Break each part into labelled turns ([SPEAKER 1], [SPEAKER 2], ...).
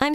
[SPEAKER 1] I'm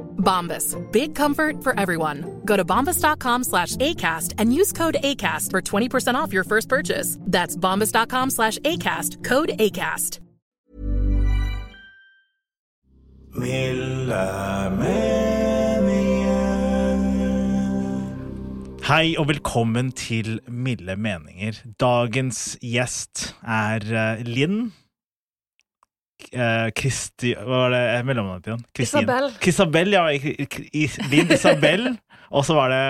[SPEAKER 2] Bombas. Big comfort for everyone. Go to bombas.com slash ACAST and use code ACAST for 20% off your first purchase. That's bombas.com slash ACAST. Code ACAST.
[SPEAKER 3] Hei og velkommen til Milde meninger. Dagens gjest er eh, Linn. Eh, Kristi... Hva var det eh, mellomnavnet igjen? Kristin.
[SPEAKER 4] Isabel.
[SPEAKER 3] Krisabel, ja. I- I- I- Linn Isabel. Og så var det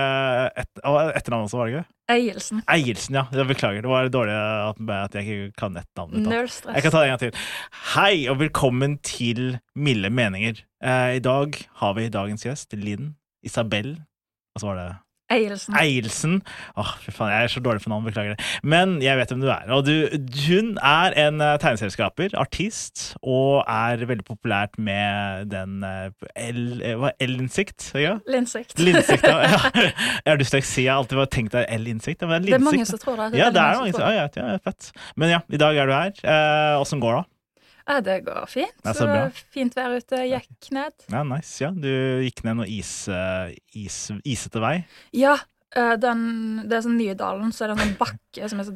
[SPEAKER 3] et, og etternavnet også, var det ikke?
[SPEAKER 4] Eielsen.
[SPEAKER 3] Eielsen, ja. Jeg beklager. Det var dårlig at, at jeg ikke kan etternavnet. ditt, da.
[SPEAKER 4] Null stress.
[SPEAKER 3] Jeg kan ta det en gang til. Hei og velkommen til Milde meninger. Eh, I dag har vi dagens gjest, Linn Isabel. Og så var det
[SPEAKER 4] Eielsen.
[SPEAKER 3] Eielsen. Åh, fy faen, jeg er så dårlig for navn, beklager det. Men jeg vet hvem du er. Og du, hun er en eh, tegneserieskaper, artist, og er veldig populært med den eh, L- eh, hva, L-innsikt? ja?
[SPEAKER 4] Linsikt.
[SPEAKER 3] Linsikt, ja. Jeg har dysleksi, jeg har alltid bare tenkt deg L-innsikt. men
[SPEAKER 4] Det er mange
[SPEAKER 3] linsikt.
[SPEAKER 4] som tror det.
[SPEAKER 3] Ja,
[SPEAKER 4] veldig
[SPEAKER 3] det er
[SPEAKER 4] som
[SPEAKER 3] mange som
[SPEAKER 4] tror det.
[SPEAKER 3] ja, ja, ja, fett. Men ja, i dag er du her. Eh, Åssen går det?
[SPEAKER 4] Ja, det går fint.
[SPEAKER 3] Ja, så
[SPEAKER 4] så
[SPEAKER 3] bra.
[SPEAKER 4] fint vær ute. Gikk ned.
[SPEAKER 3] Ja, nice. Ja, du gikk ned noe is, eh, is, isete vei.
[SPEAKER 4] Ja, eh, den, det er sånn Nydalen, så er det en sånn bakke som er så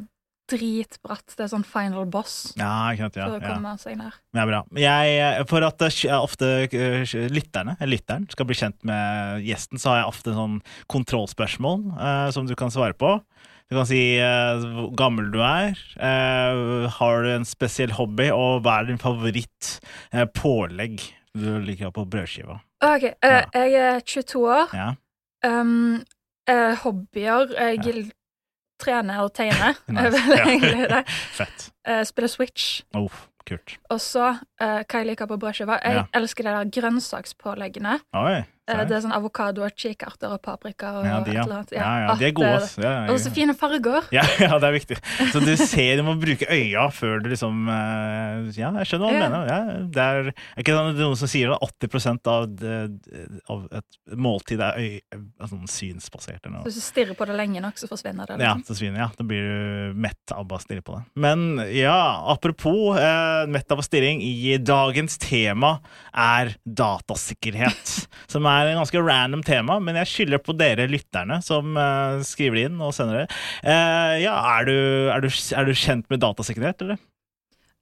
[SPEAKER 4] dritbratt. Det er sånn final boss.
[SPEAKER 3] Ja, ikke sant. Ja,
[SPEAKER 4] for å
[SPEAKER 3] ja.
[SPEAKER 4] komme seg ned.
[SPEAKER 3] Men det er bra. Jeg, for at eh, ofte eh, lytterne, eller lytteren skal bli kjent med gjesten, så har jeg ofte sånn kontrollspørsmål eh, som du kan svare på. Du kan si eh, hvor gammel du er, eh, har du en spesiell hobby, og hva er din favoritt eh, pålegg du liker på brødskiva?
[SPEAKER 4] OK. eh, Jeg er 22 år.
[SPEAKER 3] Ja,
[SPEAKER 4] Um, eh, hobbyer Jeg trener og tegner.
[SPEAKER 3] Nice.
[SPEAKER 4] Er vel
[SPEAKER 3] Ja.
[SPEAKER 4] egentlig det.
[SPEAKER 3] Fett.
[SPEAKER 4] Eh, spiller Switch.
[SPEAKER 3] Oh, kult.
[SPEAKER 4] Og så eh, hva jeg liker på brødskiva. Jeg
[SPEAKER 3] Ja.
[SPEAKER 4] elsker de der grønnsakspåleggene.
[SPEAKER 3] Oi.
[SPEAKER 4] Eh,
[SPEAKER 3] se.
[SPEAKER 4] det er sånn avokado og kikerter og paprika og
[SPEAKER 3] Ja, de,
[SPEAKER 4] et
[SPEAKER 3] ja.
[SPEAKER 4] eller annet.
[SPEAKER 3] Ja, ja,
[SPEAKER 4] at
[SPEAKER 3] de er gode,
[SPEAKER 4] det-
[SPEAKER 3] ass. Ja, ja,
[SPEAKER 4] Og så
[SPEAKER 3] ja.
[SPEAKER 4] fine farger.
[SPEAKER 3] Ja, ja, det er viktig. Så du ser, du må bruke øya før du liksom eh, Ja, jeg skjønner hva du
[SPEAKER 4] Ja.
[SPEAKER 3] mener. Ja, det er, er ikke sånn, at noen som sier at 80 av, det- av et måltid er øy, er sånn synsbasert eller noe.
[SPEAKER 4] Hvis du stirrer på det lenge nok, så forsvinner det.
[SPEAKER 3] Ja,
[SPEAKER 4] liksom.
[SPEAKER 3] så sviner, ja. Da blir du mett av bare å stirre på det. Men ja, apropos eh, mett av å stirring, i dagens tema er datasikkerhet. som er en ganske random tema, men jeg skylder på dere lytterne som eh, skriver inn og sender det. Eh, ja, er du, er, du, er du kjent med datasikkerhet, eller?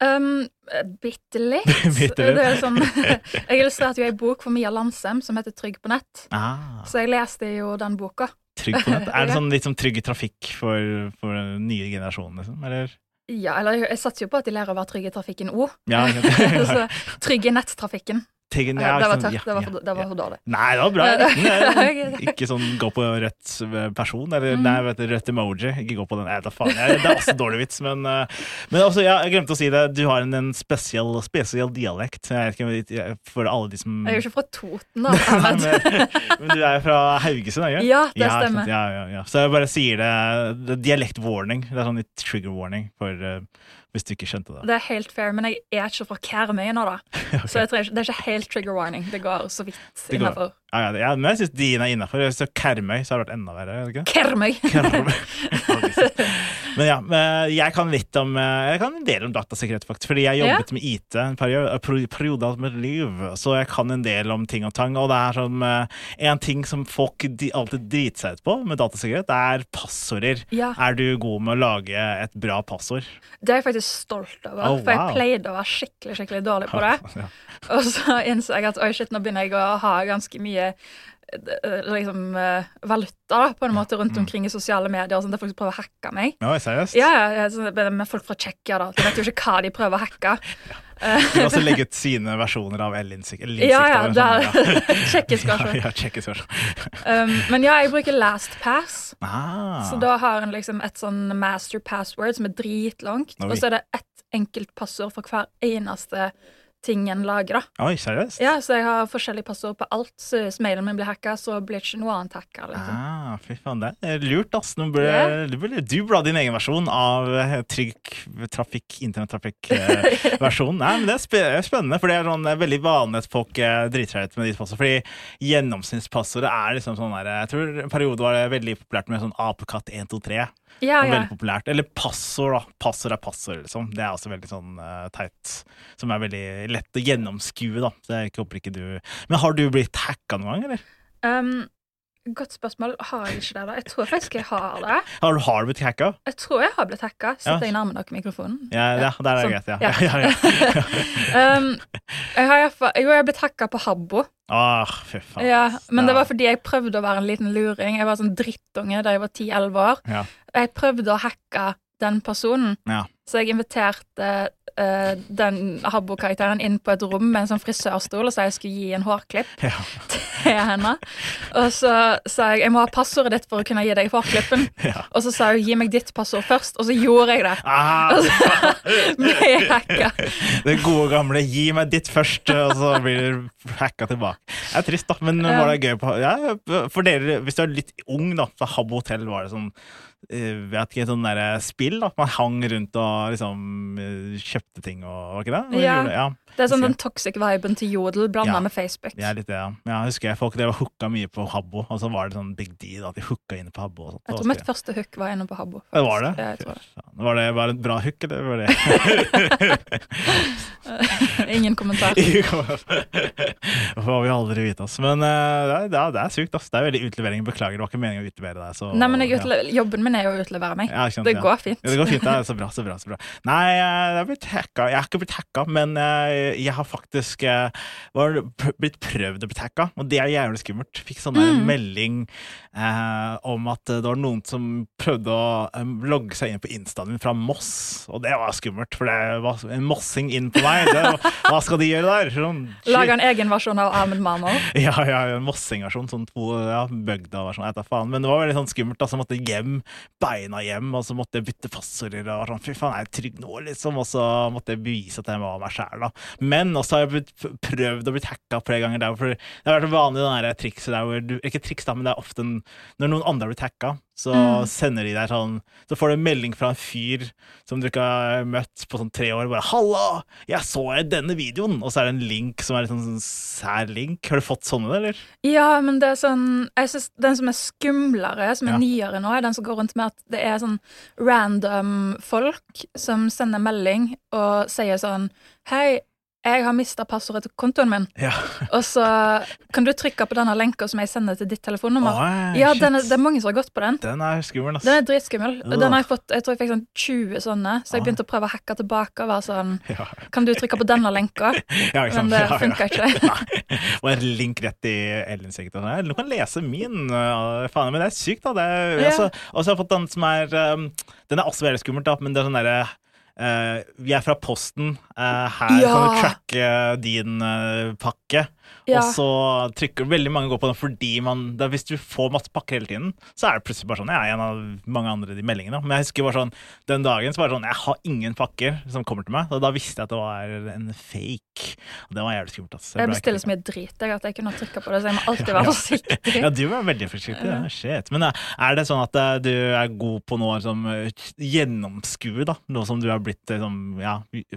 [SPEAKER 4] Um, eh, bitte litt.
[SPEAKER 3] Bitte litt.
[SPEAKER 4] Det er sånn, jeg illustrerte jo ei bok for Mia Landsem som heter Trygg på nett.
[SPEAKER 3] Ah,
[SPEAKER 4] Så jeg leste jo den boka.
[SPEAKER 3] trygg på nett. Er det
[SPEAKER 4] Ja.
[SPEAKER 3] sånn litt som trygg i trafikk for, for den nye generasjonen, liksom? Eller?
[SPEAKER 4] Ja, eller jeg- jeg satser jo på at de lærer å være trygge i trafikken òg.
[SPEAKER 3] Ja,
[SPEAKER 4] så trygg i nettrafikken.
[SPEAKER 3] Tegn- ja,
[SPEAKER 4] Ja, det var
[SPEAKER 3] ikke sant?
[SPEAKER 4] tørt.
[SPEAKER 3] Ja,
[SPEAKER 4] Det var
[SPEAKER 3] ja,
[SPEAKER 4] for, det var
[SPEAKER 3] ja.
[SPEAKER 4] for dårlig.
[SPEAKER 3] Nei, det var bra.
[SPEAKER 4] Nei,
[SPEAKER 3] Retten,
[SPEAKER 4] ok. Mm.
[SPEAKER 3] ikke sånn gå på rødt person, eller nei, vet, du, rødt emoji. Ikke gå på den. Nei, da faen. jeg- Det er også dårlig vits, men eh, Men også, ja, jeg glemte å si det. Du har en, en spesiell, spesiell dialekt. Jeg vet ikke om jeg- For alle de som
[SPEAKER 4] Jeg er jo ikke fra Toten,
[SPEAKER 3] Mm.
[SPEAKER 4] da.
[SPEAKER 3] Nei,
[SPEAKER 4] Ahmed.
[SPEAKER 3] men, men du er fra Haugesund, er du ikke?
[SPEAKER 4] Ja, det
[SPEAKER 3] ikke
[SPEAKER 4] stemmer.
[SPEAKER 3] sant? Ja, ja, ja. Så jeg bare sier det. det er Dialektwarning. Det er sånn litt trigger warning for eh, hvis du ikke skjønte det.
[SPEAKER 4] Det er helt fair, men jeg er ikke fra Karmøy nå, da. Så jeg trenger, ikke- det er ikke helt trigger warning. Det går så vidt
[SPEAKER 3] Det går-
[SPEAKER 4] innenfor
[SPEAKER 3] Ja, ja, ja, men jeg syns din er innafor. Karmøy så har det vært enda verre. er det ikke?
[SPEAKER 4] Karmøy.
[SPEAKER 3] Men ja, eh, jeg kan litt om eh, Jeg kan en del om datasikkerhet, faktisk. Fordi jeg jobbet med IT en periode, en peri- periode av mitt liv, så jeg kan en del om ting og tang. Og det er sånn eh, En ting som folk de, alltid driter seg ut på med datasikkerhet, det er passorder.
[SPEAKER 4] Ja.
[SPEAKER 3] Er du god med å lage et bra passord?
[SPEAKER 4] Det er jeg faktisk stolt over,
[SPEAKER 3] Oh,
[SPEAKER 4] for jeg
[SPEAKER 3] wow.
[SPEAKER 4] pleide å være skikkelig skikkelig dårlig på det.
[SPEAKER 3] Ja.
[SPEAKER 4] Og så innså jeg at oi shit, nå begynner jeg å ha ganske mye forskjellige eh, liksom, eh, valuta da, på en måte
[SPEAKER 3] Mm.
[SPEAKER 4] rundt omkring i sosiale medier. og Sånn, der folk prøver å hacke meg.
[SPEAKER 3] Ja, seriøst?
[SPEAKER 4] Ja, ja, ja, sånn, Med folk fra Tsjekkia, da. De vet jo ikke hva de prøver å hacke.
[SPEAKER 3] De har også legget sine versjoner av Ellinsikt.
[SPEAKER 4] Ja, ja, det er tsjekkisk versjon.
[SPEAKER 3] sånn, Ja, tjekkisk versjon.
[SPEAKER 4] Um, men ja, jeg bruker LastPass.
[SPEAKER 3] Ah,
[SPEAKER 4] Så da har en liksom et sånn master password som er dritlangt,
[SPEAKER 3] Oi.
[SPEAKER 4] og så er det ett enkelt passord for hver eneste ting en lager, da.
[SPEAKER 3] Oi, seriøst?
[SPEAKER 4] Ja, så jeg har forskjellige passord på alt. Så hvis mailen min blir hacka, så blir ikke noe annet hacka. Liksom.
[SPEAKER 3] Ah, fy faen, det er lurt, ass. Nå burde, du, burde, du burde ha din egen versjon av eh, trygg trafikk, internettrafikk-versjonen. Nei, men det er spe- spennende, for det er sånn eh, veldig vanlig at folk eh, driter seg ut med de passordene. Fordi gjennomsnittspassordet er liksom sånn der eh, Jeg tror en periode var det veldig populært med sånn apekatt123. Og
[SPEAKER 4] Ja, ja.
[SPEAKER 3] Veldig populært. Eller passord, da. Passord er passord, liksom. Det er også veldig sånn eh, teit. Som er veldig lett å gjennomskue, da. Så jeg håper ikke du Men har du blitt hacka noen gang, eller?
[SPEAKER 4] Um, godt spørsmål. Har jeg ikke det, da? Jeg tror faktisk jeg har det.
[SPEAKER 3] Har du, har du blitt hacka?
[SPEAKER 4] Jeg tror jeg har blitt hacka. Sitter
[SPEAKER 3] Ja.
[SPEAKER 4] jeg nærme nok mikrofonen?
[SPEAKER 3] Ja, ja, der er det greit,
[SPEAKER 4] sånn.
[SPEAKER 3] ja. ja. ja, ja,
[SPEAKER 4] um, jeg har, i hvert fall- jo, jeg har blitt hacka på Habbo.
[SPEAKER 3] Ah, fy faen.
[SPEAKER 4] Ja, men det
[SPEAKER 3] Ja.
[SPEAKER 4] var fordi jeg prøvde å være en liten luring. Jeg var sånn drittunge da jeg var 10-11 år.
[SPEAKER 3] Ja.
[SPEAKER 4] Jeg prøvde å hacke den personen,
[SPEAKER 3] Ja.
[SPEAKER 4] så jeg inviterte eh, den Habbo-karakteren inn på et rom med en sånn frisørstol og sa jeg skulle gi en hårklipp
[SPEAKER 3] Ja.
[SPEAKER 4] til henne. Og så sa jeg jeg må ha passordet ditt for å kunne gi deg hårklippen.
[SPEAKER 3] Ja.
[SPEAKER 4] Og så sa hun gi meg ditt passord først, og så gjorde jeg det.
[SPEAKER 3] Ah,
[SPEAKER 4] Ble jeg hacka.
[SPEAKER 3] det gode gamle 'gi meg ditt først', og så blir du hacka tilbake. Det er trist, da, men var det gøy på ja, For dere, hvis du er litt ung, da, så Habbo Hotel var det sånn eh, vet ikke, sånn der spill. da Man hang rundt og liksom eh, kjøpte ting og var ikke det? Og
[SPEAKER 4] Ja.
[SPEAKER 3] gjorde det, ja.
[SPEAKER 4] Det er sånn den toxic viben til Jodel blanda
[SPEAKER 3] Ja.
[SPEAKER 4] med Facebook.
[SPEAKER 3] Ja, litt, det, ja. ja, jeg husker jeg folk drev og hooka mye på Habbo, og så var det sånn big deal at de hooka inn på Habbo. og sånt. Det
[SPEAKER 4] Jeg
[SPEAKER 3] var
[SPEAKER 4] tror mitt
[SPEAKER 3] skøy.
[SPEAKER 4] første hook var inne på Habbo.
[SPEAKER 3] Det var det?
[SPEAKER 4] faktisk. Ja, jeg tror
[SPEAKER 3] Fy faen. Var det bare et bra hook, eller var det
[SPEAKER 4] det. Ingen kommentar.
[SPEAKER 3] Det får vi aldri vite, ass. Men eh, det, er- det, er- det er sykt, ass. Det er veldig utlevering. Beklager, det var ikke meningen å utlevere deg. Så,
[SPEAKER 4] Nei, men jeg utle jobben min er jo å utlevere meg.
[SPEAKER 3] Ja, ikke sant,
[SPEAKER 4] det
[SPEAKER 3] ja.
[SPEAKER 4] går fint.
[SPEAKER 3] Ja, det går fint. Det er så bra, så bra. så bra. Nei, eh, jeg har blitt hacka. Jeg har ikke blitt hacka, men eh, jeg har faktisk eh, var pr- blitt prøvd å bli hacka, og det er jævlig skummelt. Fikk sånn der
[SPEAKER 4] Mm.
[SPEAKER 3] melding eh, om at det var noen som prøvde å eh, logge seg inn på instaen min fra Moss, og det var skummelt, for det var en mossing inn på meg. Det, hva skal de gjøre der? Sånn, shit.
[SPEAKER 4] Lager en egen versjon av Ahmed Marmor.
[SPEAKER 3] Ja, ja, ja, en mossing-versjon. Sånn to ja, bygda versjon. Jeg vet da faen. Men det var veldig sånn skummelt. da, så jeg måtte hjem, beina hjem, og så måtte jeg bytte passord. Og var sånn, fy faen, er jeg trygg nå, liksom? Og så måtte jeg bevise at jeg var meg sjæl, da. Men også har jeg blitt f- prøvd og blitt hacka flere ganger. Der, for det har vært det vanlige den der trikset der hvor du Ikke triks, da, men det er ofte en, når noen andre har blitt hacka. Så
[SPEAKER 4] Mm.
[SPEAKER 3] sender de deg sånn Så får du en melding fra en fyr som du ikke har møtt på sånn tre år. Bare 'Halla, jeg så denne videoen!' Og så er det en link som er litt sånn, sånn sær link. Har du fått sånne, eller?
[SPEAKER 4] Ja, men det er sånn Jeg synes Den som er skumlere, som er
[SPEAKER 3] Ja.
[SPEAKER 4] nyere nå, er den som går rundt med at det er sånn random folk som sender melding og sier sånn Hei, jeg har mista passordet til kontoen min,
[SPEAKER 3] Ja.
[SPEAKER 4] og så kan du trykke på denne lenka som jeg sender til ditt telefonnummer.
[SPEAKER 3] Oi,
[SPEAKER 4] ja,
[SPEAKER 3] shit.
[SPEAKER 4] den er, det er mange som har gått på den.
[SPEAKER 3] Den er skummel, ass.
[SPEAKER 4] Den er dritskummel. og Den
[SPEAKER 3] Ugh.
[SPEAKER 4] har jeg fått, jeg tror jeg fikk sånn 20 sånne, så jeg begynte å prøve å hacke tilbake og være sånn
[SPEAKER 3] Ja.
[SPEAKER 4] Kan du trykke på denne lenka?
[SPEAKER 3] Ja, ikke sant?
[SPEAKER 4] Men det
[SPEAKER 3] Ja, ja.
[SPEAKER 4] funka ikke.
[SPEAKER 3] Nei. Og en link rett i Ellens eget. og sånn, Du kan lese min. øh, Faen, men det er sykt, da. Det er,
[SPEAKER 4] Ja.
[SPEAKER 3] altså, og så har jeg fått den som er øhm, Den er også veldig skummelt, da, men det er sånn derre øh, vi er fra Posten. øh, her kan du
[SPEAKER 4] Ja.
[SPEAKER 3] tracke din øh, pakke.
[SPEAKER 4] Ja.
[SPEAKER 3] Og så trykker veldig mange går på den fordi man da, Hvis du får masse pakker hele tiden, så er det plutselig bare sånn Jeg er en av mange andre i de meldingene. Men jeg husker bare sånn den dagen så bare sånn Jeg har ingen pakker som kommer til meg. Og da visste jeg at det var en fake. Og det var jævlig skummelt. ass.
[SPEAKER 4] Jeg
[SPEAKER 3] ble
[SPEAKER 4] bestiller så
[SPEAKER 3] ikke-
[SPEAKER 4] mye drit jeg, at jeg kunne trykke på det, så jeg må alltid være forsiktig.
[SPEAKER 3] Ja, du var veldig forsiktig. Ja. Shit. Men eh, er det sånn at eh, du er god på noe som eh, gjennomskue, da? Noe som du har blitt eh, som, ja,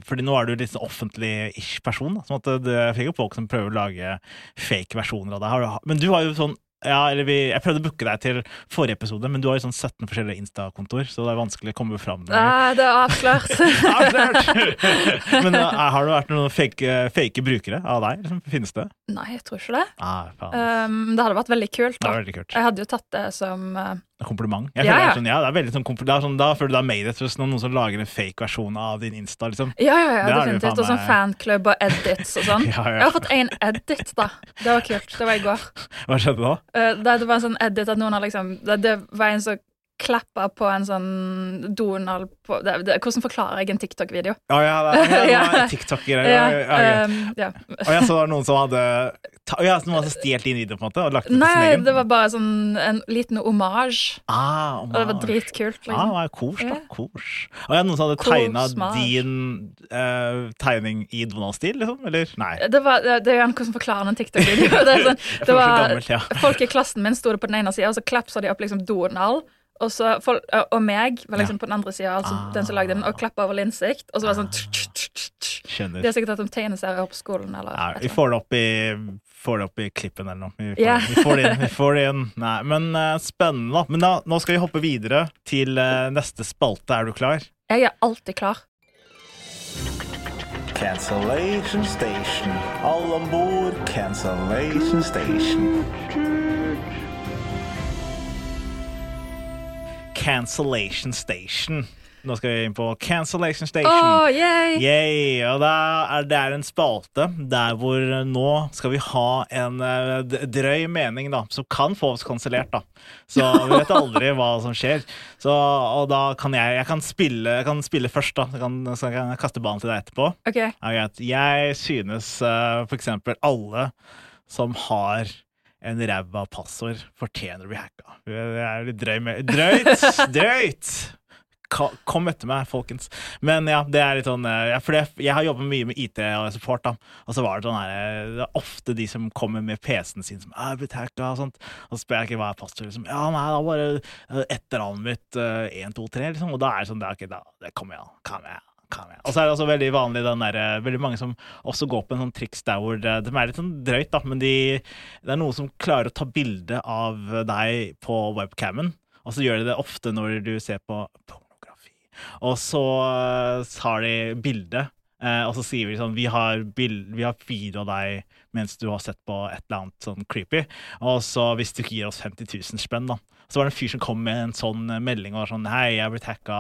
[SPEAKER 3] Fordi nå er du litt sånn offentlig-ish person. Da. Sånn at eh, det jeg fikk jo folk som prøver å lage fake versjoner av deg. Har du ha- Men du har jo sånn ja, eller vi, Jeg prøvde å booke deg til forrige episode, men du har jo sånn 17 forskjellige Insta-kontoer, så det er vanskelig å komme fram.
[SPEAKER 4] Nei, det er avslørt.
[SPEAKER 3] Avslørt! men eh, har det vært noen fake, eh, fake brukere av deg? Liksom, finnes det?
[SPEAKER 4] Nei, jeg tror ikke det.
[SPEAKER 3] Ah, faen.
[SPEAKER 4] Eh, Um, det hadde vært veldig kult.
[SPEAKER 3] det
[SPEAKER 4] Da.
[SPEAKER 3] er veldig kult.
[SPEAKER 4] Jeg hadde jo tatt det som eh,
[SPEAKER 3] kompliment. Jeg
[SPEAKER 4] Ja,
[SPEAKER 3] føler det
[SPEAKER 4] ja.
[SPEAKER 3] er sånn, ja, det er veldig sånn kompl- det er sånn, Da føler du deg made it hos noen, noen som lager en fake versjon av din Insta. liksom.
[SPEAKER 4] Ja, ja,
[SPEAKER 3] Det er
[SPEAKER 4] ja,
[SPEAKER 3] det jo
[SPEAKER 4] definitivt.
[SPEAKER 3] faen
[SPEAKER 4] Og sånn
[SPEAKER 3] meg-
[SPEAKER 4] fanklubb og edits og sånn.
[SPEAKER 3] Ja, ja.
[SPEAKER 4] Jeg har fått én edit, da. Det var kult. Det var i går.
[SPEAKER 3] Hva skjedde da?
[SPEAKER 4] Eh, det, det var en sånn edit at noen har liksom Det, det var en som klappa på en sånn Donald på det, det, Hvordan forklarer jeg en TikTok-video?
[SPEAKER 3] Ja, ja, det er, ja, det
[SPEAKER 4] Ja.
[SPEAKER 3] er TikTok-greier. Ja, ja, ja, ja.
[SPEAKER 4] ehm, ja.
[SPEAKER 3] Og jeg så det var noen som hadde ta, ja, så noen hadde stjålet din video på en måte, og lagt den til sin
[SPEAKER 4] Nei,
[SPEAKER 3] egen.
[SPEAKER 4] det var bare sånn en liten omasj,
[SPEAKER 3] ah,
[SPEAKER 4] og det var
[SPEAKER 3] Omar. Ja,
[SPEAKER 4] dritkult.
[SPEAKER 3] det
[SPEAKER 4] Liksom.
[SPEAKER 3] var kors, da.
[SPEAKER 4] Ja.
[SPEAKER 3] Kors. Og ja, noen som hadde
[SPEAKER 4] Kors,
[SPEAKER 3] tegna
[SPEAKER 4] smart.
[SPEAKER 3] din eh, tegning i Donald-stil, liksom? Eller? Nei.
[SPEAKER 4] Det, var, det, det er jo en hvordan forklarer en TikTok-video. Det er sånn,
[SPEAKER 3] Jeg føler
[SPEAKER 4] det
[SPEAKER 3] meg så
[SPEAKER 4] var,
[SPEAKER 3] gammel, ja.
[SPEAKER 4] Folk i klassen min sto det på den ene sida, og så klapsa de opp liksom Donald. Og, så folk, og meg var liksom på den andre sida, altså den som lagde den, og klappa over linsikt. Og så var det sånn tsk, tsk, tsk, tsk.
[SPEAKER 3] Ah. Skjønner.
[SPEAKER 4] De har sikkert hatt om tegneserier på skolen.
[SPEAKER 3] Nei,
[SPEAKER 4] Eller, et
[SPEAKER 3] vi
[SPEAKER 4] eller annet.
[SPEAKER 3] får det opp i, får det opp i klippen eller noe. Vi får,
[SPEAKER 4] Ja.
[SPEAKER 3] vi får det inn. Vi får det inn. Nei, men eh, spennende. da. Men da, nå skal vi hoppe videre til eh, neste spalte. Er du klar?
[SPEAKER 4] Jeg er alltid klar.
[SPEAKER 5] Cancellation station. All on board cancellation station.
[SPEAKER 3] Cancellation Station. Nå skal vi inn på Cancellation
[SPEAKER 4] Å,
[SPEAKER 3] Station.
[SPEAKER 4] yay!
[SPEAKER 3] Yay, og da er det er en spalte der hvor nå skal vi ha en eh, d- drøy mening da, som kan få oss kansellert. da. Så vi vet aldri hva som skjer. Så, og da kan jeg, jeg kan spille, jeg kan spille først, da. Jeg kan, så kan jeg kaste ballen til deg etterpå.
[SPEAKER 4] OK.
[SPEAKER 3] Er greit. Jeg synes eh, for eksempel alle som har en ræva passord, fortjener å bli hacka. Det er litt drøy med Drøyt! Drøyt! Ka- Kom etter meg, folkens. Men ja, det er litt sånn eh, ja, For det, jeg har jobbet mye med IT og support, da. Og så var det sånn her eh, Det er ofte de som kommer med PC-en sin som "Ah, er blitt hacka og sånt. Og så spør jeg ikke hva er passordet. Liksom. Ja, nei, det er bare eh, etternavnet mitt. eh, 1, 2, 3, liksom. Og da er det sånn det, er ikke- da, det kommer jeg, kan jeg. Kan jeg. Og så er det også veldig vanlig den der, eh, veldig mange som også går på en sånn triks der hvor det, de er litt sånn drøyt, da, men de, det er noen som klarer å ta bilde av deg på webcamen, og så gjør de det ofte når du ser på pornografi. Og så eh, tar de bilde, eh, og så sier vi sånn Vi har, bil- vi har video av deg mens du har sett på et eller annet sånn creepy, og så hvis du ikke gir oss 50 000 spenn, da. Så var det en fyr som kom med en sånn eh, melding og var sånn Hei, jeg er blitt hacka.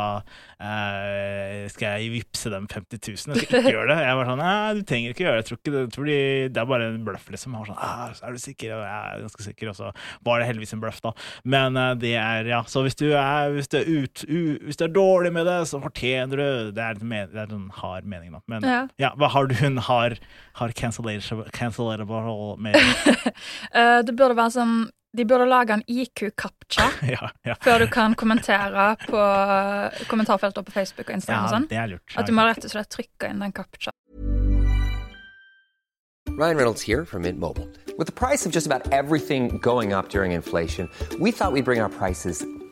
[SPEAKER 3] Eh, skal jeg vippse dem 50 000? Jeg skal ikke gjøre det. Jeg var sånn Nei, du trenger ikke gjøre det. Jeg tror ikke det. Jeg tror de, det er bare en bløff, liksom. Jeg var sånn «Ah, Er du sikker? Og jeg er ganske sikker. Og så var det heldigvis en bløff, da. Men eh, det er Ja, så hvis du er, hvis du er, ut, u, hvis du er dårlig med det, så fortjener du Det er, et men, det er en hard mening, da. Men ja,
[SPEAKER 4] Ja.
[SPEAKER 3] hva har du en hard, hard cancellatable, cancellatable mening?
[SPEAKER 4] Eh, det burde være sånn De burde lage en IQ-captcha
[SPEAKER 3] ja, ja.
[SPEAKER 4] før du kan kommentere på kommentarfelter på Facebook og Instagram og
[SPEAKER 3] ja,
[SPEAKER 4] sånn.
[SPEAKER 3] det er lurt.
[SPEAKER 4] At du må rett og slett trykke inn den captcha.
[SPEAKER 6] Ryan Reynolds here from Mint Mobile. With the price of just about everything going up during inflation, we thought we'd bring our prices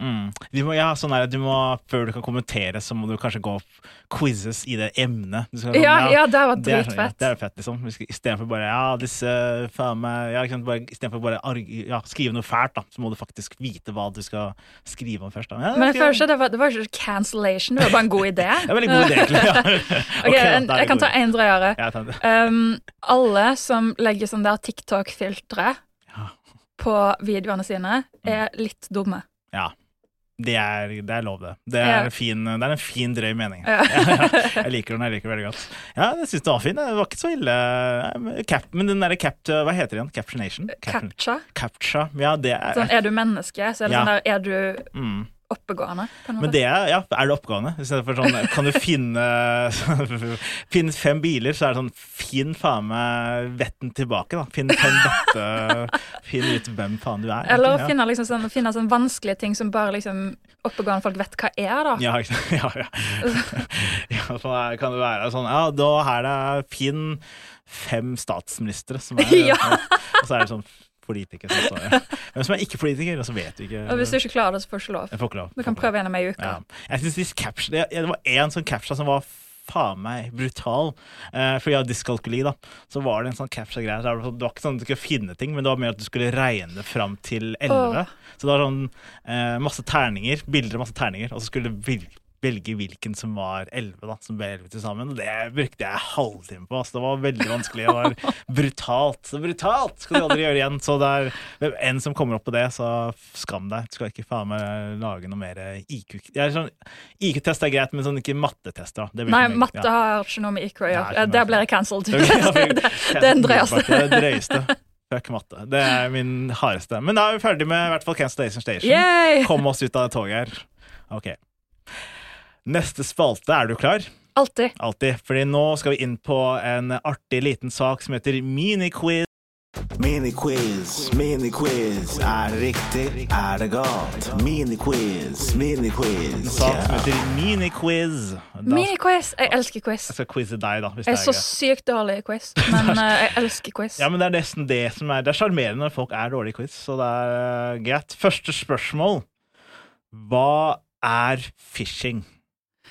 [SPEAKER 3] Mm. Du må, ja, sånn er det. Du må, før du kan kommentere, så må du kanskje gå opp quizzes i det emnet. Du skal,
[SPEAKER 4] Ja, ja, det
[SPEAKER 3] er
[SPEAKER 4] var
[SPEAKER 3] sånn,
[SPEAKER 4] dritfett.
[SPEAKER 3] Ja, det er fett, liksom. Vi skal- Istedenfor bare ja, disse faen meg ja, ikke sant, bare, Istedenfor bare arg- ja, skrive noe fælt, da, så må du faktisk vite hva du skal skrive om først. Da. Ja,
[SPEAKER 4] Men jeg
[SPEAKER 3] skriv om-
[SPEAKER 4] føler ikke det var, det var ikke cancellation, det var bare en god idé.
[SPEAKER 3] Ah, Det er en veldig god idé, egentlig. Ja.
[SPEAKER 4] Ok,
[SPEAKER 3] Ok, da, da er
[SPEAKER 4] en,
[SPEAKER 3] det
[SPEAKER 4] jeg kan
[SPEAKER 3] god
[SPEAKER 4] ta
[SPEAKER 3] idé.
[SPEAKER 4] en drøyere.
[SPEAKER 3] Ja, ta det.
[SPEAKER 4] Um, alle som legger sånn der TikTok-filtre på videoene
[SPEAKER 3] Mm.
[SPEAKER 4] sine, er litt dumme.
[SPEAKER 3] ja. Det er, det er lov, det. Det
[SPEAKER 4] Ja.
[SPEAKER 3] er, en fin, det er en fin, drøy mening.
[SPEAKER 4] Ja.
[SPEAKER 3] Jeg liker den jeg liker den veldig godt. Ja, jeg syns den var fin. Det var ikke så ille. Nei, men Cap, men den derre cap... Hva heter den igjen?
[SPEAKER 4] Eh,
[SPEAKER 3] Captionation? Caption-
[SPEAKER 4] Captcha.
[SPEAKER 3] Captcha. Ja, det er
[SPEAKER 4] Sånn, er du menneske, så er det
[SPEAKER 3] Ja.
[SPEAKER 4] sånn der Er du
[SPEAKER 3] mm.
[SPEAKER 4] oppegående. På en
[SPEAKER 3] Men
[SPEAKER 4] måte.
[SPEAKER 3] det er, ja, er det oppgavene? I stedet for sånn, kan du finne Finne fem biler, så er det sånn Finn faen meg vetten tilbake, da. Finn fem vette Finn ut hvem faen du er.
[SPEAKER 4] Eller å
[SPEAKER 3] egentlig,
[SPEAKER 4] finne, liksom, sånn, finne sånn vanskelige ting som bare liksom, oppegående folk vet hva er. da.
[SPEAKER 3] Ja, ikke sant? ja, ja. ja sånn er, kan det være sånn Ja, da her er det Finn fem statsministre som er
[SPEAKER 4] Ja.
[SPEAKER 3] Og så er det sånn politiker som står ja. Hvem som er ikke politiker, og så vet du ikke
[SPEAKER 4] Og hvis du ikke klarer det, så får du ikke lov.
[SPEAKER 3] Jeg får ikke lov.
[SPEAKER 4] Du kan prøve gjennom ei uke.
[SPEAKER 3] Ja. Jeg synes disse caption, det, det var én sånn captcha som var faen meg brutal. Eh, for jeg har dyskalkuli, da. Så var det en sånn captcha-greie. der Det var- det var ikke sånn at du skulle finne ting, men det var mer at du skulle regne det fram til 11.
[SPEAKER 4] Åh.
[SPEAKER 3] Så det var sånn eh, masse terninger, bilder og masse terninger, og så skulle du vil- velge hvilken som var 11, da, som ble 11 til sammen. Og det brukte jeg halvtime på. Altså. Det var veldig vanskelig. Det var brutalt. Så brutalt skal du aldri gjøre igjen. Så det er en som kommer opp på det, så skam deg. Du skal ikke faen meg lage noe mer IQ. Jeg er sånn, IQ-test er greit, men sånn ikke mattetester. da. Det blir
[SPEAKER 4] Nei,
[SPEAKER 3] for mye.
[SPEAKER 4] matte
[SPEAKER 3] Ja.
[SPEAKER 4] har ikke noe med IQ å
[SPEAKER 3] Nei,
[SPEAKER 4] gjøre.
[SPEAKER 3] ikke
[SPEAKER 4] Ja,
[SPEAKER 3] noe
[SPEAKER 4] Der
[SPEAKER 3] med-
[SPEAKER 4] blir jeg cancelled.
[SPEAKER 3] Det blir-
[SPEAKER 4] Det det er den
[SPEAKER 3] Det
[SPEAKER 4] drøyeste.
[SPEAKER 3] er den drøyeste. Fuck matte. Det er min hardeste. Men da er vi ferdig med i hvert fall Cancellation Station.
[SPEAKER 4] Yay!
[SPEAKER 3] Kom oss ut av toget her. Ok. Neste spalte, er du klar?
[SPEAKER 4] Alltid.
[SPEAKER 3] Alltid. Fordi nå skal vi inn på en artig liten sak som heter miniquiz.
[SPEAKER 7] Miniquiz, miniquiz. Er det riktig? Er det galt? Miniquiz, miniquiz.
[SPEAKER 3] Sak som heter miniquiz. Da
[SPEAKER 4] Mini-quiz. Jeg elsker quiz.
[SPEAKER 3] skal jeg skal quize deg, da. Hvis det
[SPEAKER 4] Jeg er så
[SPEAKER 3] er greit.
[SPEAKER 4] sykt dårlig i quiz, men eh, jeg elsker quiz.
[SPEAKER 3] Ja, men Det er nesten det som er Det er sjarmerende når folk er dårlige i quiz, så det er eh, greit. Første spørsmål. Hva er phishing?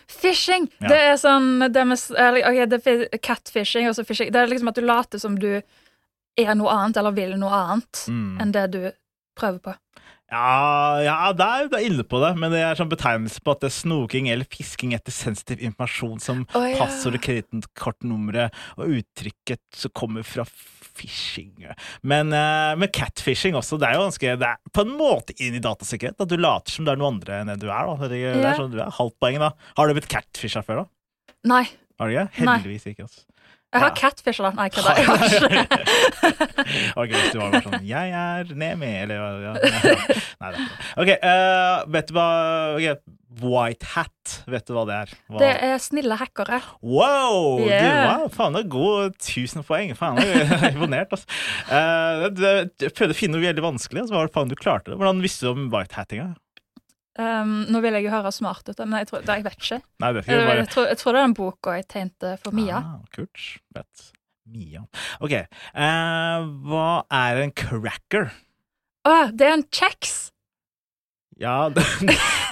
[SPEAKER 4] Fishing!
[SPEAKER 3] Ja.
[SPEAKER 4] Det er sånn det med, s- eller, ok, det er fi- Catfishing og så fishing. Det er liksom at du later som du er noe annet, eller vil noe annet,
[SPEAKER 3] Mm.
[SPEAKER 4] enn det du prøver på.
[SPEAKER 3] Ja, ja det er du er inne på det, men det er sånn betegnelse på at det er snoking eller fisking etter sensitiv informasjon som
[SPEAKER 4] Å, ja.
[SPEAKER 3] passord og kredittkortnummeret og uttrykket som kommer fra phishing. Men, eh, men catfishing også, det er jo ganske Det er på en måte inn i datasikkerhet. At du later som du er noe andre enn det du er. Da. Det er, det
[SPEAKER 4] Ja.
[SPEAKER 3] er sånn du er halvt poeng, da. Har du blitt catfisha før, da?
[SPEAKER 4] Nei.
[SPEAKER 3] Har du ikke?
[SPEAKER 4] Nei.
[SPEAKER 3] Heldigvis ikke. Altså.
[SPEAKER 4] Jeg har
[SPEAKER 3] Ja.
[SPEAKER 4] catfisher, da. Nei, kødda. Jeg har ikke det.
[SPEAKER 3] Ok, hvis du var bare sånn 'Jeg er Nemi', eller ja, ja. Nei da. Ok, eh, vet du hva ok, White hat, vet du hva det er? Hva?
[SPEAKER 4] Det er snille hackere.
[SPEAKER 3] Wow!
[SPEAKER 4] Yeah.
[SPEAKER 3] Du, wow! Faen, det er god 1000 poeng. Faen, jeg er imponert, altså. Eh, det- jeg prøvde å finne noe veldig vanskelig, og så var det faen du klarte det. Hvordan visste du om white hattinga?
[SPEAKER 4] Um, nå vil jeg jo høre smart ut, men jeg tror, det, jeg vet ikke.
[SPEAKER 3] Nei, det er ikke
[SPEAKER 4] Jeg,
[SPEAKER 3] det, bare
[SPEAKER 4] jeg, tror, jeg tror det er den boka jeg tegnte for Eh, Mia.
[SPEAKER 3] Ah, kult. Fett. Mia. Ok, eh, hva er en cracker?
[SPEAKER 4] Å, det er en kjeks!
[SPEAKER 3] Ja, det,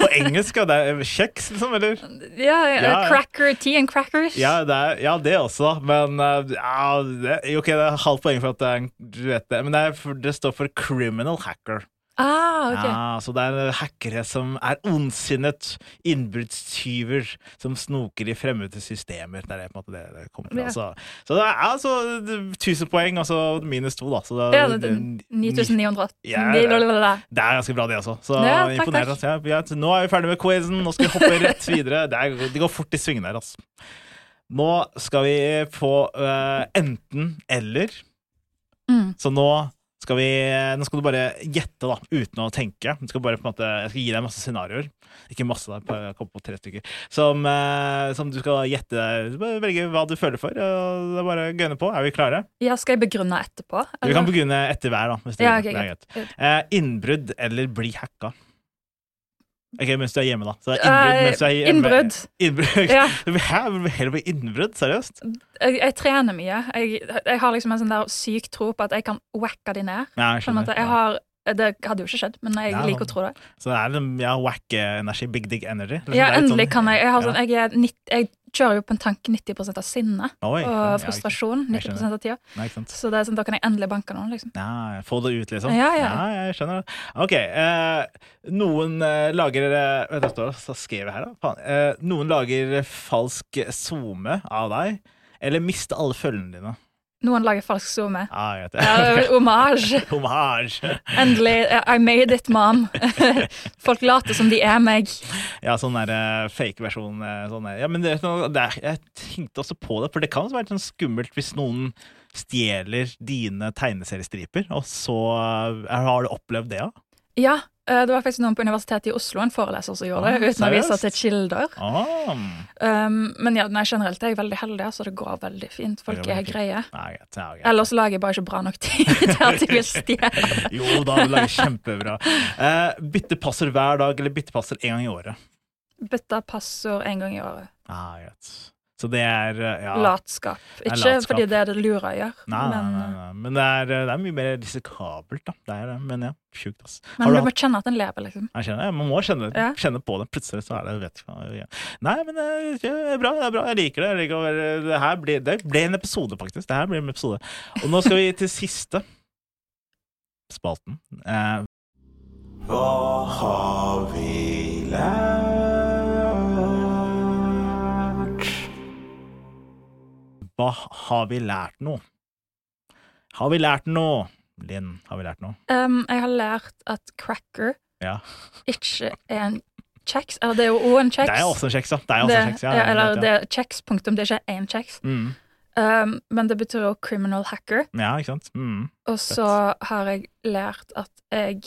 [SPEAKER 3] på engelsk ja, det er kjeks, liksom, eller?
[SPEAKER 4] Ja,
[SPEAKER 3] Ja, ja.
[SPEAKER 4] Cracker tea and crackers.
[SPEAKER 3] Ja, det, er, ja, det også, da. Men eh, ja, det, Ok, det er halvt poeng for at det er en, du vet det. Men det, er, for- det står for criminal hacker.
[SPEAKER 4] Ah, ok.
[SPEAKER 3] Ja, så det er hackere som er ondsinnet innbruddstyver som snoker i fremmede systemer. Det er på en måte det det kommer fra.
[SPEAKER 4] Ja.
[SPEAKER 3] Så, så det er altså 1000 poeng, og så minus to, da. Så det,
[SPEAKER 4] Ja, det-
[SPEAKER 3] det-
[SPEAKER 4] 9980
[SPEAKER 3] Ja,
[SPEAKER 4] Blablabla.
[SPEAKER 3] Det er ganske bra, det også. Så
[SPEAKER 4] Ja, takk,
[SPEAKER 3] imponert.
[SPEAKER 4] takk.
[SPEAKER 3] Altså. Ja, ja, nå er vi ferdig med quizen. Nå skal vi hoppe rett videre. Det, er, det går fort i svingene her, altså. Nå skal vi få enten-eller.
[SPEAKER 4] Mm.
[SPEAKER 3] Så nå skal, vi, nå skal du bare gjette, da, uten å tenke. Du skal bare, på en måte, jeg skal gi deg masse scenarioer. Ikke masse, da, jeg kom på tre stykker. Som, eh, som du skal gjette deg bare Velge hva du føler for. Og det er bare å gønne på. Er vi klare?
[SPEAKER 4] Ja, skal jeg begrunne etterpå?
[SPEAKER 3] Vi kan begrunne etter hver, da. Hvis det,
[SPEAKER 4] Ja, ok,
[SPEAKER 3] det er greit.
[SPEAKER 4] greit.
[SPEAKER 3] Eh, innbrudd eller bli hacka? Ok, Mens du er hjemme, da. Så det er
[SPEAKER 4] Eh,
[SPEAKER 3] innbrudd mens du er hjemme.
[SPEAKER 4] innbrudd.
[SPEAKER 3] Innbrudd.
[SPEAKER 4] Ja.
[SPEAKER 3] Hæ? Vil du heller bli innbrudd? Seriøst?
[SPEAKER 4] Jeg, jeg trener mye. Jeg, jeg har liksom en sånn der syk tro på at jeg kan wacka de ned.
[SPEAKER 3] Ja, jeg
[SPEAKER 4] På en
[SPEAKER 3] skjønner.
[SPEAKER 4] måte. Jeg
[SPEAKER 3] Ja.
[SPEAKER 4] har, det hadde jo ikke skjedd, men jeg
[SPEAKER 3] Ja, sånn.
[SPEAKER 4] liker å tro det.
[SPEAKER 3] Så det er liksom, ja, wack energy. Big dig energy. Liksom,
[SPEAKER 4] Ja,
[SPEAKER 3] det er litt
[SPEAKER 4] endelig
[SPEAKER 3] sånn-
[SPEAKER 4] kan jeg. Jeg, har
[SPEAKER 3] Ja.
[SPEAKER 4] sånn, jeg, er nitt- jeg kjører jo på en tanke 90 av sinne
[SPEAKER 3] Oi, ja,
[SPEAKER 4] og
[SPEAKER 3] ikke-
[SPEAKER 4] frustrasjon.
[SPEAKER 3] jeg
[SPEAKER 4] 90 av tida.
[SPEAKER 3] Nei, ikke sant.
[SPEAKER 4] Så det er sånn, da kan jeg endelig banke noen, liksom.
[SPEAKER 3] Ja, få det ut, liksom?
[SPEAKER 4] Ja, ja.
[SPEAKER 3] jeg skjønner det. Ok. Eh, noen eh, lager eh, Vet du hva så skrev jeg her, da? Faen. Eh, noen lager falsk SoMe av deg, eller miste alle følgene dine.
[SPEAKER 4] Noen lager falsk zoome.
[SPEAKER 3] Ja, jeg vet det.
[SPEAKER 4] Ja, Omasj.
[SPEAKER 3] Homage.
[SPEAKER 4] Endelig. I made it, mom. Folk later som de er meg.
[SPEAKER 3] Ja, sånn der eh, fake versjon. eh, Sånn der. Ja, men det, er sånn- det er, jeg tenkte også på det, for det kan også være litt sånn skummelt hvis noen stjeler dine tegneseriestriper, og så eh, har du opplevd det, ja?
[SPEAKER 4] Ja, eh, det var faktisk noen på Universitetet i Oslo, en foreleser, som gjorde det,
[SPEAKER 3] Ah,
[SPEAKER 4] uten å vise
[SPEAKER 3] seriøst?
[SPEAKER 4] til kilder.
[SPEAKER 3] Ah,
[SPEAKER 4] Um, men ja, nei, generelt er jeg veldig heldig, altså. Det går veldig fint. Folk
[SPEAKER 3] Det går
[SPEAKER 4] er
[SPEAKER 3] veldig
[SPEAKER 4] greie.
[SPEAKER 3] nei, greit, ja, greit.
[SPEAKER 4] Ellers lager jeg bare ikke bra nok tid til at de vil stjele.
[SPEAKER 3] Jo da, du lager kjempebra. Eh, bytte passord hver dag, eller bytte passord én gang i året.
[SPEAKER 4] Bytte passord en gang i året.
[SPEAKER 3] Ah, greit. Så det er eh, ja.
[SPEAKER 4] Latskap.
[SPEAKER 3] er
[SPEAKER 4] Ikke
[SPEAKER 3] latskap.
[SPEAKER 4] fordi det er det lure å gjøre,
[SPEAKER 3] Nei, nei,
[SPEAKER 4] men,
[SPEAKER 3] nei, nei. Men det er, eh, det er mye mer risikabelt, da. Det er, det, men ja, sjukt, ass. Har
[SPEAKER 4] men
[SPEAKER 3] du
[SPEAKER 4] du
[SPEAKER 3] hatt-
[SPEAKER 4] må kjenne at en lever, liksom.
[SPEAKER 3] Jeg kjenner, man må kjenne,
[SPEAKER 4] Ja.
[SPEAKER 3] kjenne på det. Plutselig så er det vet ikke hva- ja. Nei, men eh, det er bra. det er bra, Jeg liker det. Jeg liker å være, det her ble, det ble en episode, faktisk. Det her ble en episode. Og nå skal vi til siste spalten. Eh,
[SPEAKER 7] Hva har vi lært?
[SPEAKER 3] hva har vi lært nå? Har vi lært noe? Linn, har vi lært noe?
[SPEAKER 4] Um, jeg har lært at cracker
[SPEAKER 3] Ja.
[SPEAKER 4] ikke er en kjeks. Eller det er jo òg en
[SPEAKER 3] Det
[SPEAKER 4] kjeks.
[SPEAKER 3] er også en kjeks, da. Det er også en kjeks, ja,
[SPEAKER 4] ja, eller
[SPEAKER 3] ja.
[SPEAKER 4] det er kjeks, punktum. Det er ikke én kjeks.
[SPEAKER 3] Mm,
[SPEAKER 4] Um, men det betyr jo criminal hacker.
[SPEAKER 3] ja, ikke sant? Mm.
[SPEAKER 4] Og så har jeg lært at jeg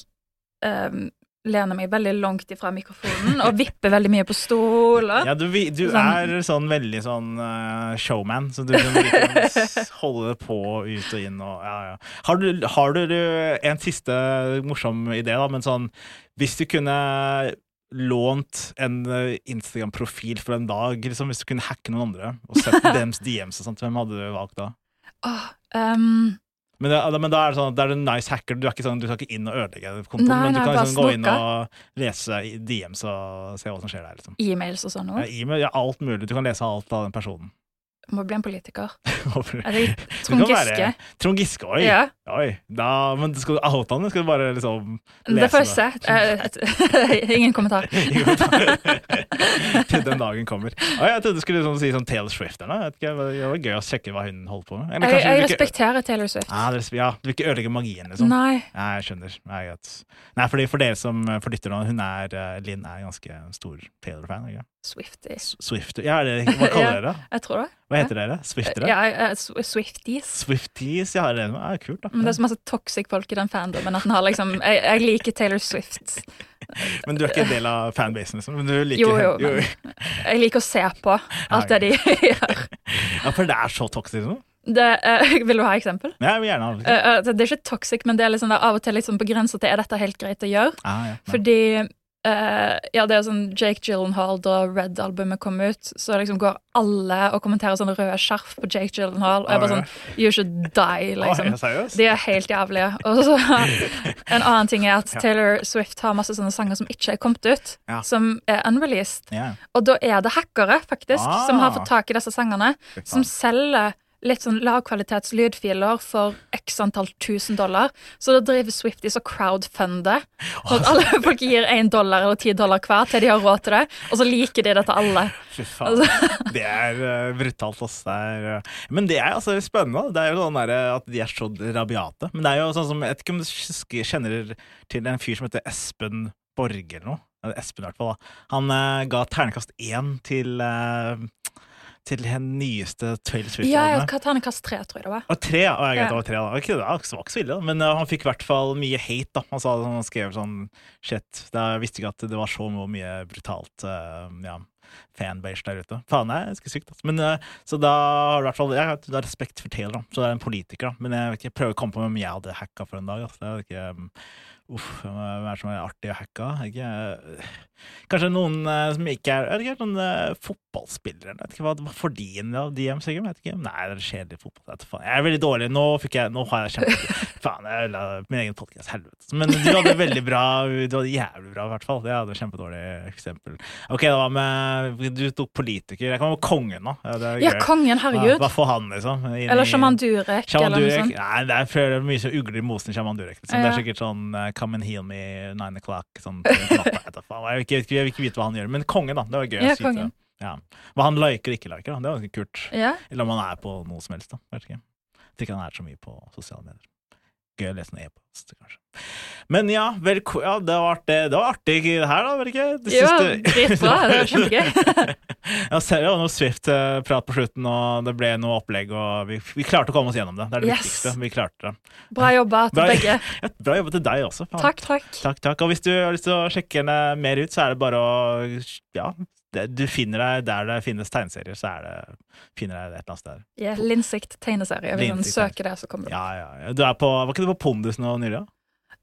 [SPEAKER 4] um, lener meg veldig langt ifra mikrofonen og vipper veldig mye på stoler.
[SPEAKER 3] Ja, du, vi- du
[SPEAKER 4] Sånn-
[SPEAKER 3] er sånn veldig sånn eh, showman, så du kan liksom s- holde det på ut og inn og ja, ja. Har du, har du en siste morsom idé, da, men sånn Hvis du kunne lånt en eh, Instagram-profil for en dag, liksom, hvis du kunne hacke noen andre og sett dems DMs og sånt, hvem hadde du valgt da?
[SPEAKER 4] Åh, um,
[SPEAKER 3] Men, det, men da er det sånn, at da er du en nice hacker, du er ikke sånn, du skal ikke inn og ødelegge kontoen,
[SPEAKER 4] Nei,
[SPEAKER 3] men du
[SPEAKER 4] nei,
[SPEAKER 3] kan
[SPEAKER 4] bare
[SPEAKER 3] liksom gå inn og lese i DMs og se hva som skjer der, liksom.
[SPEAKER 4] E-mails og sånn
[SPEAKER 3] Ja,
[SPEAKER 4] òg.
[SPEAKER 3] e-mail, ja, alt mulig. Du kan lese alt av den personen.
[SPEAKER 4] Må bli en politiker.
[SPEAKER 3] Håper-
[SPEAKER 4] Er det
[SPEAKER 3] Du
[SPEAKER 4] Trond
[SPEAKER 3] kan være-
[SPEAKER 4] Giske?
[SPEAKER 3] Trond Giske, oi!
[SPEAKER 4] Ja.
[SPEAKER 3] oi. Da, men skal du oute han, eller skal du bare liksom lese
[SPEAKER 4] Det får jeg se. Eh, Ingen kommentar.
[SPEAKER 3] Til den dagen kommer. Å, jeg trodde du skulle liksom si sånn Taylor Swift eller noe. Jeg vet ikke, Det var gøy å sjekke hva hun holdt på med. Eller
[SPEAKER 4] Jeg,
[SPEAKER 3] kanskje du
[SPEAKER 4] jeg
[SPEAKER 3] vil ikke-
[SPEAKER 4] respekterer Taylor Swift.
[SPEAKER 3] Ja, det respe- ja, du vil ikke ødelegge magien, liksom.
[SPEAKER 4] Nei.
[SPEAKER 3] Nei, jeg skjønner. Nei, greit. Nei, fordi for dere som eh, for lytterne, hun er eh, Linn er ganske stor Taylor-fan. ikke?
[SPEAKER 4] Swifties.
[SPEAKER 3] Swift Ja, er det, hva kaller dere det?
[SPEAKER 4] Jeg tror det.
[SPEAKER 3] Hva heter dere? Swiftere?
[SPEAKER 4] Ja, eh, Sw- Swifties.
[SPEAKER 3] Swifties, ja, det er kult, da.
[SPEAKER 4] Men det er så masse toxic folk i den fandomen at den har liksom Jeg, jeg liker Taylor Swift.
[SPEAKER 3] Men du er ikke en del av fanbasen, liksom? Men du liker
[SPEAKER 4] Jo, jo, men jeg liker å se på alt det
[SPEAKER 3] Ah,
[SPEAKER 4] de gjør.
[SPEAKER 3] Ja, for det er så toxic, liksom?
[SPEAKER 4] Det, eh, vil du ha eksempel?
[SPEAKER 3] Ja, jeg vil gjerne ha det. liksom.
[SPEAKER 4] Eh, eh, det er ikke toxic, men det er liksom det er av og til liksom på grensa til er dette helt greit å gjøre.
[SPEAKER 3] Ah, ja, nei.
[SPEAKER 4] Fordi eh, ja, det er sånn Jake Gyllenhaal da Red-albumet kom ut, så liksom går alle og kommenterer sånne røde skjerf på Jake Gyllenhaal, og jeg
[SPEAKER 3] Oi.
[SPEAKER 4] bare sånn You should die, liksom.
[SPEAKER 3] Oi, seriøst?
[SPEAKER 4] De er helt jævlige. Og så En annen ting er at Taylor Swift har masse sånne sanger som ikke er kommet ut,
[SPEAKER 3] Ja.
[SPEAKER 4] som er unreleased.
[SPEAKER 3] Ja.
[SPEAKER 4] Og da er det hackere, faktisk,
[SPEAKER 3] Ah.
[SPEAKER 4] som har fått tak i disse sangene, som selger litt sånn lavkvalitets lydfiler for x antall tusen dollar. Så da driver Swifties og crowdfunder. Og at alle folk gir én dollar eller ti dollar hver til de har råd til det, og så liker de dette alle.
[SPEAKER 3] Fy faen.
[SPEAKER 4] Altså-
[SPEAKER 3] Det er eh, brutalt, ass. Det er, eh, men det er altså spennende. da. Det er jo sånn der, eh, at de er så rabiate. Men det er jo sånn som Jeg vet ikke om du husker- kjenner til en fyr som heter Espen Borge eller noe. Eller Espen, i hvert fall. da. Han eh, ga ternekast én til eh, til den nyeste Taylor Swift-albumet.
[SPEAKER 4] Ja, ja, Ternekast tre, tror jeg det var.
[SPEAKER 3] Og tre, ja. Å, jeg,
[SPEAKER 4] Ja.
[SPEAKER 3] det var tre, da. Ok, det var ikke- var ikke så ille, da. men uh, han fikk i hvert fall mye hate. da. Han, sa, han skrev sånn Shit, da jeg visste ikke at det var så mye brutalt uh, ja, fanbase der ute. Faen, det er ganske sykt. Altså. Men, uh, så da har du i hvert fall ja, du har respekt for Taylor, da. så det er en politiker. da. Men jeg, vet ikke, jeg prøver å komme på hvem jeg hadde hacka for en dag. Altså. Det er ikke... um, Uff, hvem er det som er artig å hacke? Ikke, kanskje noen eh, som ikke er jeg vet ikke, noen eh, fotballspillere? Jeg vet ikke hva hva får de inn av DM, sikkert? Jeg vet ikke. Nei, det er kjedelig fotball. Jeg, vet faen. jeg er veldig dårlig. Nå, fikk jeg, nå har jeg kjempe... Faen, jeg ødela min egen podkast. Helvete. Men du hadde veldig bra Du hadde jævlig bra, i hvert fall. Jeg hadde kjempedårlig eksempel. Ok, det var med Du tok politiker. Jeg kan være kongen nå. Ja, det er
[SPEAKER 4] Ja,
[SPEAKER 3] gøy.
[SPEAKER 4] kongen,
[SPEAKER 3] Ja,
[SPEAKER 4] herregud.
[SPEAKER 3] Ah, Hva får han, liksom? Inn
[SPEAKER 4] Eller
[SPEAKER 3] i-
[SPEAKER 4] Shaman Durek.
[SPEAKER 3] Shaman
[SPEAKER 4] eller noe
[SPEAKER 3] Durek?
[SPEAKER 4] sånt.
[SPEAKER 3] Nei, det er for det er mye så ugler i mosen Shaman Durek. Liksom. Det er
[SPEAKER 4] Ja.
[SPEAKER 3] sikkert sånn eh, 'come and heal me nine o'clock' sånn til natta. Jeg vet da faen. Jeg vil ikke, jeg vil ikke vite hva han gjør. Men konge, da. Det var gøy. å
[SPEAKER 4] Ja,
[SPEAKER 3] si til.
[SPEAKER 4] kongen.
[SPEAKER 3] Ja. Hva han liker og ikke liker, da. Det var ganske kult.
[SPEAKER 4] Ja.
[SPEAKER 3] Eller om han er på noe som helst, da. Jeg vet ikke. Jeg tror ikke han er så mye på sosiale medier. Gøy å lese noe e-post, kanskje. Men ja, velko ja det, var artig. det var artig det her, da, var det ikke? Det
[SPEAKER 4] Ja,
[SPEAKER 3] siste-
[SPEAKER 4] dritbra. Det var kjempegøy.
[SPEAKER 3] ja, selv om det var noe Swift-prat på slutten, og det ble noe opplegg, og vi, vi klarte å komme oss gjennom det. Det er det
[SPEAKER 4] Yes.
[SPEAKER 3] viktigste. Vi klarte det.
[SPEAKER 4] Bra jobba til begge.
[SPEAKER 3] Ja, bra jobba til deg også. faen.
[SPEAKER 4] Takk, takk.
[SPEAKER 3] Takk, takk. Og hvis du har lyst til å sjekke henne mer ut, så er det bare å Ja, det, du finner deg der det finnes tegneserier, så er det, finner deg et eller annet sted.
[SPEAKER 4] Ja, Linsikt tegneserie. Hvis man
[SPEAKER 3] Linsikt,
[SPEAKER 4] søker det, så kommer det.
[SPEAKER 3] Ja, ja, ja. Du er på Var ikke du på Pondus nå nylig, da?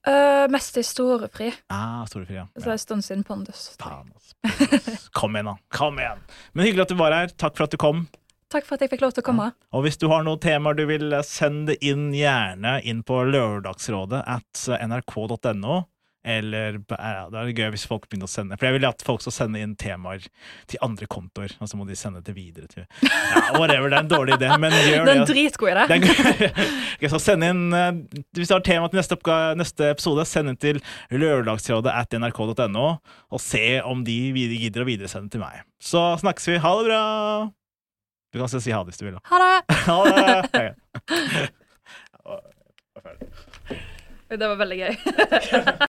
[SPEAKER 4] Eh, mest i storefri.
[SPEAKER 3] Ah, Storefri, ja.
[SPEAKER 4] Så det er
[SPEAKER 3] ja.
[SPEAKER 4] en stund siden Pondus.
[SPEAKER 3] Faen, altså. Kom igjen, da. Kom igjen. Men hyggelig at du var her. Takk for at du kom.
[SPEAKER 4] Takk for at jeg fikk lov til å komme.
[SPEAKER 3] Og hvis du har noen temaer du vil, eh, send det inn gjerne inn på lørdagsrådet at eh, nrk.no. Eller på- ja, Det er gøy hvis folk begynner å sende For jeg vil at folk skal sende inn temaer til andre kontoer, og så må de sende det videre til Ja, whatever, det er en dårlig idé, men gjør
[SPEAKER 4] Det er en
[SPEAKER 3] det. altså.
[SPEAKER 4] dritgod idé.
[SPEAKER 3] Det er gøy. Ok, så send inn, eh, hvis du har tema til neste, oppga- neste episode, send inn til lørdagsrådet at nrk.no, og se om de vid- gidder å videresende til meg. Så snakkes vi. Ha det bra! Du kan også si ha det hvis du vil. da.
[SPEAKER 4] Ha det!
[SPEAKER 3] Ha det! Ok.
[SPEAKER 4] Det var veldig gøy.